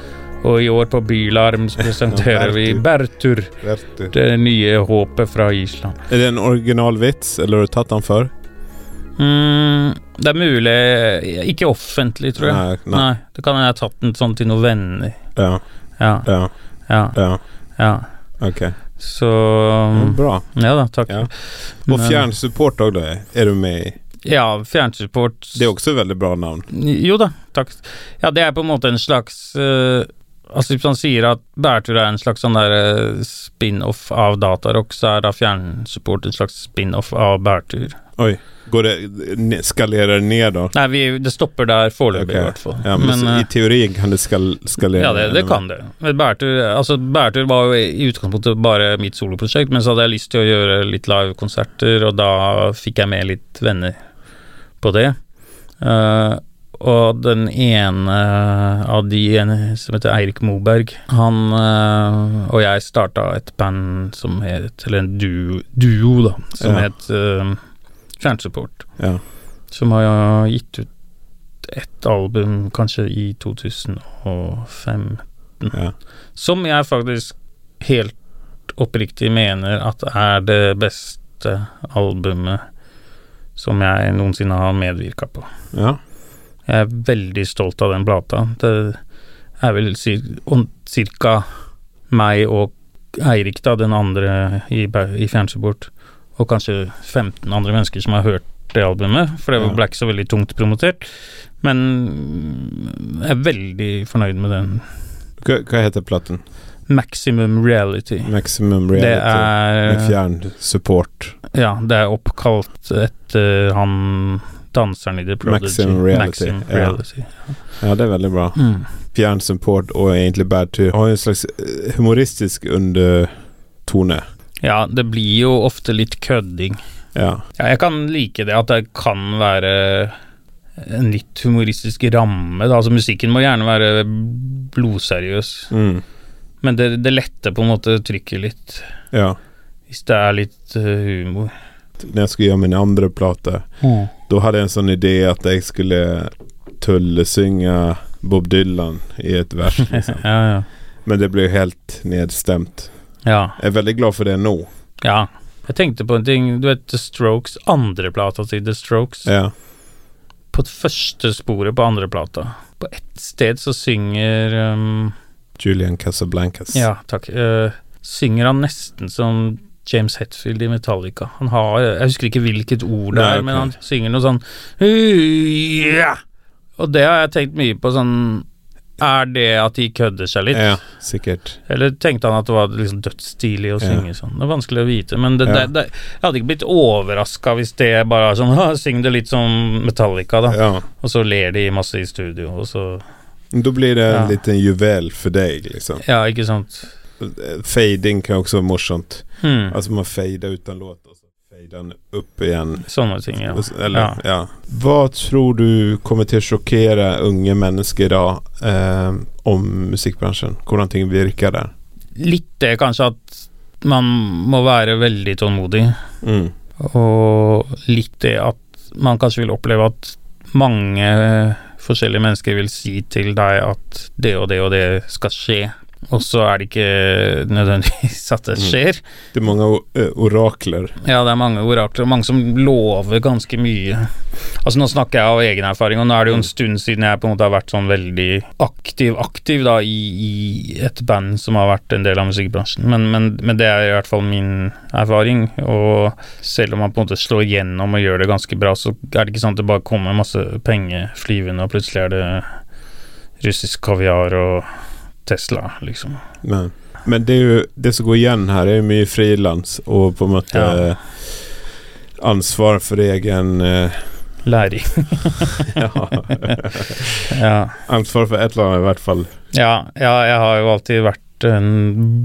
S2: Og i år på Bylarm så presenterer vi Bærtur,
S1: Er
S2: det nye håpet fra Island.
S1: det en original vits, eller har du tatt den før?
S2: Mm, det er mulig Ikke offentlig, tror jeg. Nei,
S1: Nei, nei.
S2: Det kan hende jeg har tatt den sånn til noen venner.
S1: Ja,
S2: Ja,
S1: ja,
S2: ja,
S1: ja.
S2: ja.
S1: Ok.
S2: Så
S1: Men Bra.
S2: Ja da, takk.
S1: Ja. Og
S2: Mm. Men- eh,
S1: fjernsupport òg, da. Er du med i?
S2: Ja, fjernsupport
S1: Det er også et veldig bra navn.
S2: Jo da, takk. Ja, det er på en måte en slags eh, Altså Hvis man sier at Bærtur er en slags sånn der eh, spin-off av Datarock, så er da fjernsupport en slags spin-off av Bærtur.
S1: Oi. Går det ne- Skalerer det ned, da?
S2: Nei, vi, det stopper der
S1: Ok.
S2: foreløpig, i hvert fall.
S1: Ja, men, så
S2: eh,
S1: I teorien kan det skal, skalere.
S2: Ja, det, det kan det. Men Bærtur, altså, Bærtur var jo i utgangspunktet bare mitt soloprosjekt, men så hadde jeg lyst til å gjøre litt livekonserter, og da fikk jeg med litt venner på det. Eh, og den ene eh, av de ene som heter Eirik Moberg, han eh, og jeg starta et band som het Eller en duo, duo da, som
S1: Ja.
S2: het eh, Fjernsupport.
S1: Ja.
S2: Som har eh, gitt ut ett album kanskje i 2005.
S1: Ja.
S2: Som jeg faktisk helt oppriktig mener at er det beste albumet som jeg noensinne har medvirka på.
S1: ja.
S2: Jeg er veldig stolt av den plata. Det er vel cir- om- cirka meg og Eirik, da, den andre i, Bau- i Fjernsupport, og kanskje 15 andre mennesker som har hørt det albumet, for det
S1: Ja.
S2: ble ikke så veldig tungt promotert. Men mm, jeg er veldig fornøyd med den.
S1: Hva, hva heter platen?
S2: Maximum Reality.
S1: Maximum
S2: Det
S1: Reality. Med
S2: er eh,
S1: fjernsupport.
S2: Ja, det er oppkalt etter han danseren i The Prodigy.
S1: Maximum Reality,
S2: Maximum
S1: ja.
S2: Reality.
S1: Ja, det er veldig bra.
S2: Mm.
S1: Fjernsupport og egentlig Bad Tour har jo en slags eh, humoristisk undertone.
S2: Ja, det blir jo ofte litt kødding.
S1: Ja.
S2: Ja, jeg kan like det at det kan være en litt humoristisk ramme. Da. Altså musikken må gjerne være blodseriøs,
S1: Mm.
S2: men det, det letter på en måte trykket litt.
S1: ja.
S2: Hvis det er litt eh, humor.
S1: Når jeg skulle gjøre min andre plate, Da hadde jeg en sånn idé at jeg skulle tullesynge Bob Dylan i et vers. Liksom.
S2: Ja, ja.
S1: Men det ble jo helt nedstemt.
S2: ja,
S1: Jeg er veldig glad for det nå.
S2: ja. Jeg tenkte på en ting. Du vet The Strokes, andre plata til The Strokes.
S1: Ja.
S2: På det første sporet på andre plata. På ett sted så synger um,
S1: Julian Casablancas.
S2: Ja, takk. Eh, synger han nesten som James Hetfield i Metallica. Han har Jeg husker ikke hvilket ord det
S1: Nei, ok.
S2: er, men han synger noe sånn «Ja!» Og det har jeg tenkt mye på, sånn Er det at de kødder seg litt?
S1: Ja, sikkert.
S2: Eller tenkte han at det var liksom dødsstilig å
S1: Ja.
S2: synge sånn? Det er vanskelig å vite, men det,
S1: Ja.
S2: det, det, jeg hadde ikke blitt overraska hvis det bare var sånn «Ha, Syng det litt som Metallica, da.
S1: Ja.
S2: Og så ler de masse i studio, og så
S1: Da blir det en
S2: Ja.
S1: liten juvel for deg, liksom.
S2: Ja, ikke sant?
S1: Fading kan også være morsomt.
S2: Hmm.
S1: Altså, man fader uten låt, og så fader den opp igjen.
S2: Sånne ting, ja.
S1: Och s- Eller,
S2: Ja.
S1: ja. Hva tror du kommer til å sjokkere unge mennesker i dag eh, om musikkbransjen? Hvordan ting virker der?
S2: litt det kanskje at man må være veldig tålmodig,
S1: Mm.
S2: og litt det at man kanskje vil oppleve at mange forskjellige mennesker vil si til deg at det og det og det skal skje, og så er det ikke nødvendigvis at det
S1: Mm.
S2: skjer.
S1: Det er mange o- ø, orakler.
S2: Ja, det er mange orakler, og mange som lover ganske mye. Altså Nå snakker jeg av egen erfaring, og nå er det jo en stund siden jeg på en måte har vært sånn veldig aktiv aktiv da i, i et band som har vært en del av musikkbransjen, men, men, men det er i hvert fall min erfaring. Og selv om man på en måte slår gjennom og gjør det ganske bra, så er det ikke sånn at det bare kommer masse penger flyvende, og plutselig er det russisk kaviar og Tesla, liksom.
S1: Nei. Men det, är ju, det som går igen här är ju mycket frilans och på en måte
S2: Ja.
S1: eh, ansvar för egen... eh,
S2: Læring.
S1: ja,
S2: Ja.
S1: ansvar för ett eller annat i hvert fall.
S2: Ja, ja, jeg har jo alltid vært en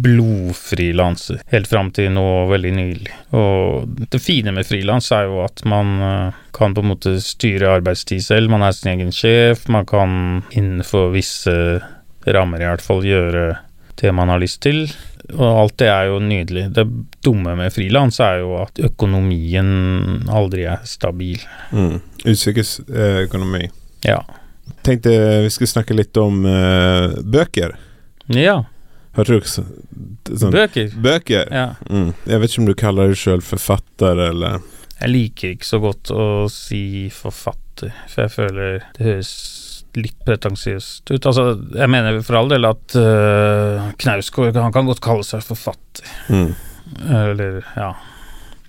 S2: blodfrilanser, helt fram til nå veldig nylig. Og det fine med frilans er jo at man eh, kan på en måte styre arbeidstid selv, man er sin egen sjef, man kan innenfor visse rammer i hvert fall gjøre det man har lyst til. Og alt det er jo nydelig. Det dumme med frilans er jo at økonomien aldri er stabil.
S1: Mm. Utrikes eh, ekonomi.
S2: Ja.
S1: Tänkte vi skulle snacka lite om eh, böcker.
S2: Ja,
S1: Har du också? sånt?
S2: bøker.
S1: böcker?
S2: Ja.
S1: Mm. Jag vet inte om du kallar dig själv författare eller...
S2: Jeg liker ikke så godt å si forfatter, for jeg føler det høres litt pretensiøst ut. Altså, jeg mener for all del at øh, Knausgård, han kan godt kalle seg forfatter,
S1: Mm.
S2: eller ja.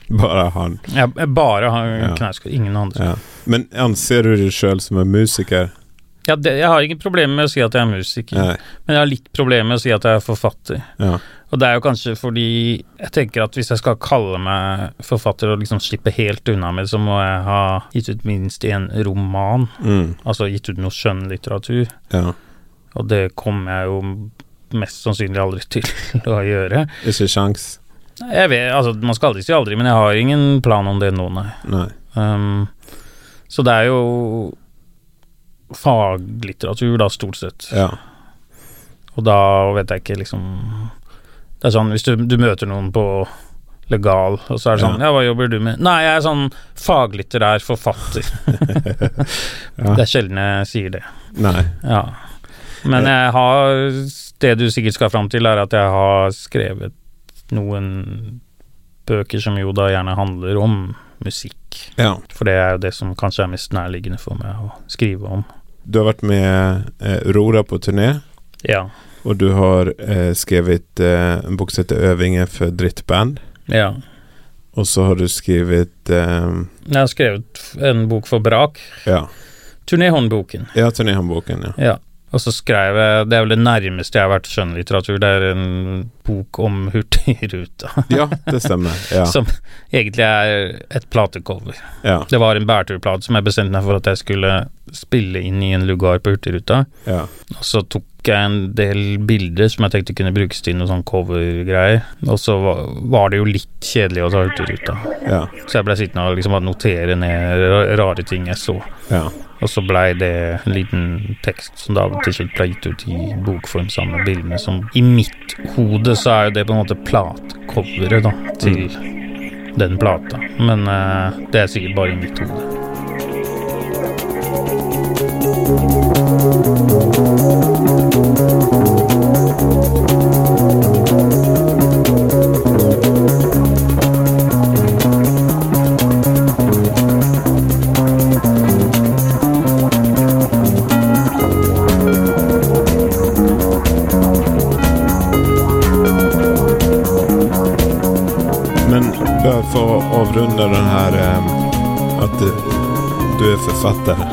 S1: Bara han.
S2: Jeg, jeg bare har
S1: Ja.
S2: Knausgård, ingen andre.
S1: Ja. Men anser du dig själv som en musiker?
S2: Ja, det, jeg har ingen problemer med å si at jeg er musiker,
S1: Nej.
S2: men jeg har litt problemer med å si at jeg er forfatter.
S1: Ja.
S2: Og det er jo kanskje fordi jeg tenker at hvis jeg skal kalle meg forfatter og liksom slippe helt unna med det, så må jeg ha gitt ut minst én roman,
S1: Mm.
S2: altså gitt ut noe skjønnlitteratur.
S1: Ja.
S2: Og det kommer jeg jo mest sannsynlig aldri til å gjøre.
S1: Inte chans.
S2: Jeg vet, altså Man skal aldri si aldri, men jeg har ingen plan om det nå, nei.
S1: Nej.
S2: Um, så det er jo faglitteratur, da, stort sett.
S1: Ja.
S2: Og da vet jeg ikke, liksom Det er sånn hvis du, du møter noen på Legal, og så er det sånn Ja, hva jobber du med? Nei, jeg er sånn faglitterær forfatter.
S1: Ja.
S2: Det er sjelden jeg sier det.
S1: Nej.
S2: Ja. Men jeg har Det du sikkert skal fram til, er at jeg har skrevet noen bøker som jo da gjerne handler om musikk.
S1: Ja.
S2: For det er jo det som kanskje er mest nærliggende for meg å skrive om.
S1: Du har varit med eh, Aurora på turné
S2: Ja.
S1: och du har eh, skrivit eh, en bok som heter Övinge för drittband.
S2: ja.
S1: Och så har du skrivit... ehm,
S2: Jeg har skrevet en bok for Brak.
S1: ja.
S2: Turnéhåndboken.
S1: Ja, turnéhandboken ja.
S2: Ja. Og så skrev jeg Det er vel det nærmeste jeg har vært skjønnlitteratur. Det er en bok om Hurtigruta,
S1: Ja, det stämmer. Ja.
S2: som egentlig er et platecover.
S1: Ja.
S2: Det var en bærturplate som jeg bestemte meg for at jeg skulle spille inn i en lugar på Hurtigruta.
S1: Ja.
S2: Og så tok jeg en del bilder som jeg tenkte kunne brukes til noen sånn covergreier. Og så var, var det jo litt kjedelig å ta Hurtigruta,
S1: Ja.
S2: så jeg blei sittende og liksom bare notere ned ra- rare ting jeg så.
S1: Ja.
S2: Og så blei det en liten tekst som da til slutt ble gitt ut i bokform sammen med bildene som I mitt hode så er jo det på en måte platecoveret, da, til den plata. Men eh, det er sikkert bare i mitt hode.
S1: Men bara för att avrunda den här ehm, att du, du är författare.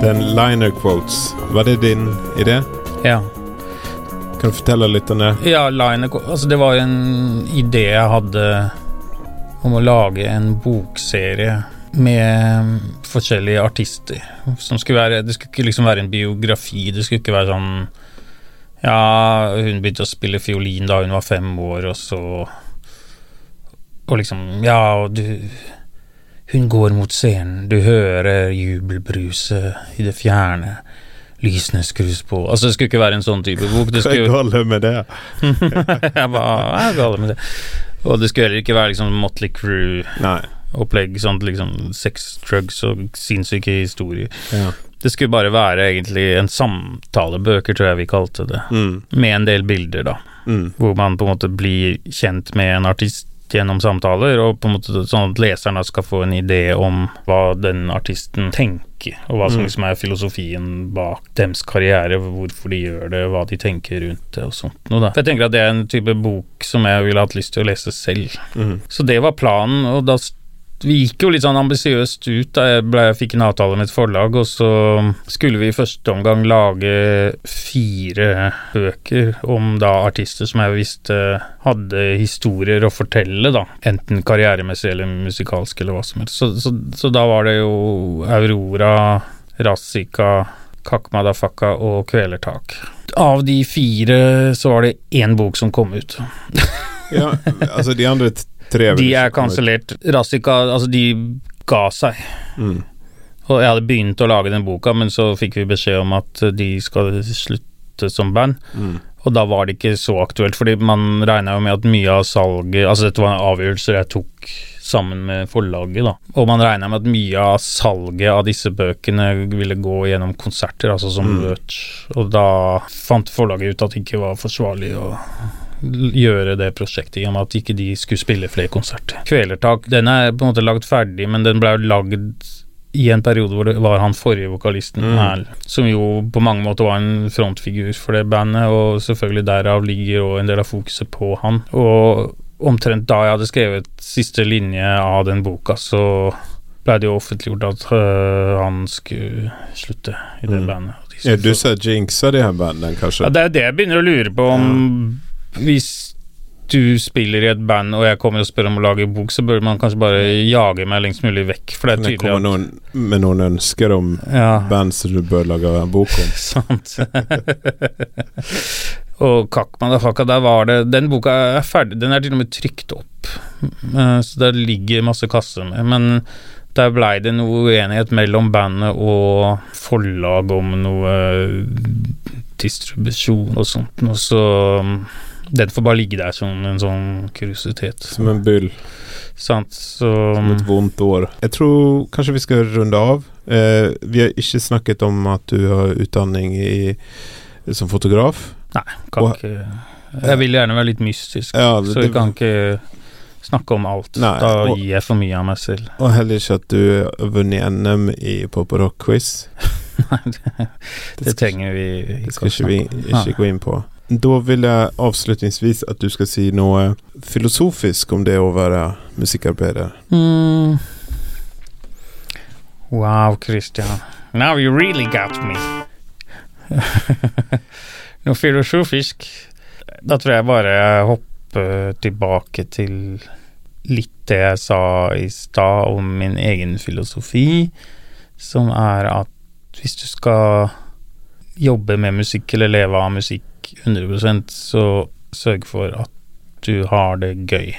S1: den liner quotes, var det din idé?
S2: Ja.
S1: Kan du fortälla lite om det?
S2: ja Line, altså det var en idé jeg hadde om å lage en bokserie med forskjellige artister. Som skulle være, det skulle ikke liksom være en biografi. Det skulle ikke være sånn Ja, hun begynte å spille fiolin da hun var fem år, og så Og liksom Ja, og du Hun går mot scenen, du hører jubelbruset i det fjerne. Lysene skrus på Altså, det skulle ikke være en sånn type bok. Det skulle,
S1: Jag håller med det.
S2: jeg bare, hva er galt med det? Og det skulle heller ikke være liksom Motley Crew-opplegg,
S1: Nej.
S2: sånt liksom sex, drugs og sinnssyke historier.
S1: Ja.
S2: Det skulle bare være egentlig en samtalebøker, tror jeg vi kalte det,
S1: Mm.
S2: med en del bilder, da,
S1: Mm.
S2: hvor man på en måte blir kjent med en artist gjennom samtaler, og på en måte sånn at leseren da skal få en idé om hva den artisten tenker, og hva som
S1: Mm.
S2: liksom er filosofien bak deres karriere, hvorfor de gjør det, hva de tenker rundt det og sånt noe da. For jeg tenker at det er en type bok som jeg ville hatt lyst til å lese selv.
S1: Mm.
S2: Så det var planen, og da s- Vi gikk jo litt sånn ambisiøst ut da jeg ble, fikk en avtale med et forlag, og så skulle vi i første omgang lage fire bøker om da artister som jeg visste hadde historier å fortelle, da. Enten karrieremessig eller musikalsk eller hva som helst. Så, så, så da var det jo Aurora, Razika, Kakmadafaka og Kvelertak. Av de fire så var det én bok som kom ut.
S1: Ja, altså de andre t- tre vil
S2: De
S1: ikke
S2: er
S1: komme ut.
S2: kansellert. Razika Altså, de ga seg.
S1: Mm.
S2: Og jeg hadde begynt å lage den boka, men så fikk vi beskjed om at de skal slutte som band.
S1: Mm.
S2: Og da var det ikke så aktuelt, fordi man regna jo med at mye av salget Altså, dette var avgjørelser jeg tok sammen med forlaget, da. Og man regna med at mye av salget av disse bøkene ville gå gjennom konserter, altså som
S1: Mm.
S2: merch. Og da fant forlaget ut at det ikke var forsvarlig å gjøre det prosjektet, i og med at ikke de skulle spille flere konserter. Kvelertak, den er på en måte lagd ferdig, men den ble jo lagd i en periode hvor det var han forrige vokalisten,
S1: Mm.
S2: Erl, som jo på mange måter var en frontfigur for det bandet, og selvfølgelig derav ligger også en del av fokuset på han. Og omtrent da jeg hadde skrevet siste linje av den boka, så ble det jo offentliggjort at øh, han skulle slutte i det
S1: Mm.
S2: bandet. og de skulle
S1: Ja, du
S2: få-
S1: sa jinxa de her banden, kanskje?
S2: ja, det er jo det jeg begynner å lure på om Hvis du spiller i et band og jeg kommer og spør om å lage bok, så bør man kanskje bare jage meg lengst mulig vekk, for det
S1: Kan
S2: er
S1: det komme
S2: tydelig at
S1: noen med noen ønsker om
S2: ja,
S1: band som du bør lage bok om?
S2: sant. og Kakman og Haka, der var det Den boka er ferdig, den er til og med trykt opp, Eh, så der ligger masse kasser med. Men der blei det noe uenighet mellom bandet og forlag om noe eh, distribusjon og sånt, og så mm, den får bare ligge der som en sånn kuriositet.
S1: Som en byll.
S2: Sant, så mm,
S1: Som et vondt år. Jeg tror kanskje vi skal runde av. Eh, vi har ikke snakket om at du har utdanning i, som fotograf.
S2: kan
S1: og-
S2: ikke Jeg vil gjerne være litt mystisk,
S1: Ja,
S2: så vi kan ikke snakke om alt.
S1: Nei,
S2: da
S1: og-
S2: gir jeg for mye av meg selv.
S1: Og heller ikke at du har vunnet NM i pop og rock-quiz.
S2: Nei, det, det
S1: skal-
S2: trenger vi
S1: Det
S2: ikke
S1: skal
S2: å
S1: ikke vi
S2: snakke om. Nei.
S1: ikke gå inn på. Da vil jeg avslutningsvis at du skal si noe filosofisk om det å være musikkarbeider.
S2: Mm. Wow, Christian. Now you really got me. Noe filosofisk. Da tror jeg bare jeg hopper tilbake til litt det jeg sa i stad om min egen filosofi, som er at hvis du skal jobbe med musikk eller leve av musikk 100 så sørg for at du har det gøy.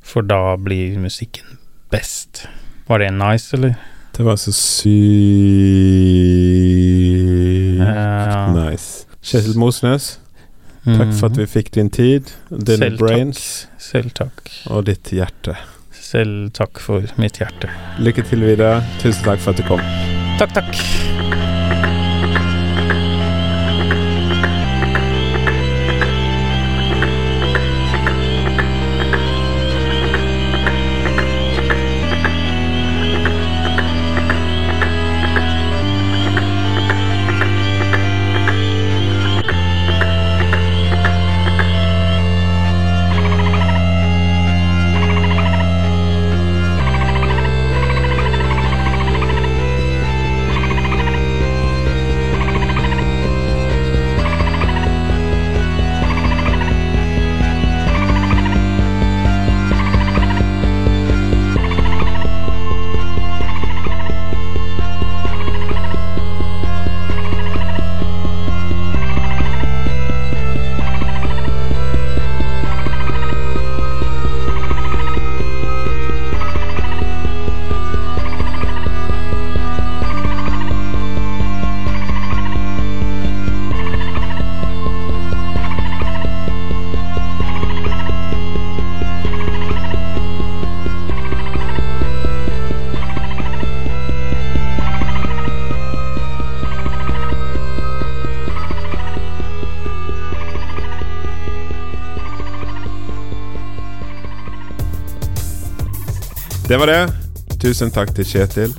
S2: For da blir musikken best. Var det nice, eller?
S1: Det var så sykt
S2: Ja.
S1: Mm.
S2: Mhm. Mm.
S1: nice. Kjetil Mosnes, takk for at vi fikk din tid, dine
S2: Selv takk.
S1: brains
S2: Selv takk.
S1: og ditt hjerte.
S2: Selv takk for mitt hjerte.
S1: Lykke til videre. Tusen takk for at du kom.
S2: Takk, takk.
S1: Det var det. Tusen takk til Kjetil.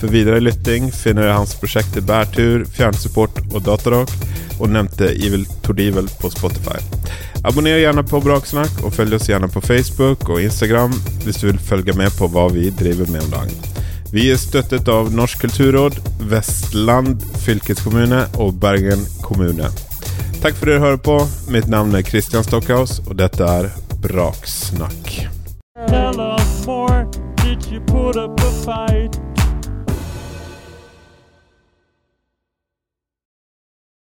S1: For videre lytting finner du hans prosjekter Bærtur, Fjernsupport og Datarock och nämnde Evil Tordivel på Spotify. Abonnera gärna på Braksnack och följ oss gärna på Facebook och Instagram om du vill följa med på vad vi driver med om dagen. Vi är stöttet av Norsk kulturråd, Vestland fylkeskommune och Bergen kommune. Tack för att du hör på. Mitt namn är Christian Stockhaus och detta är Braksnack.
S3: Tell us more. Did you put up a fight?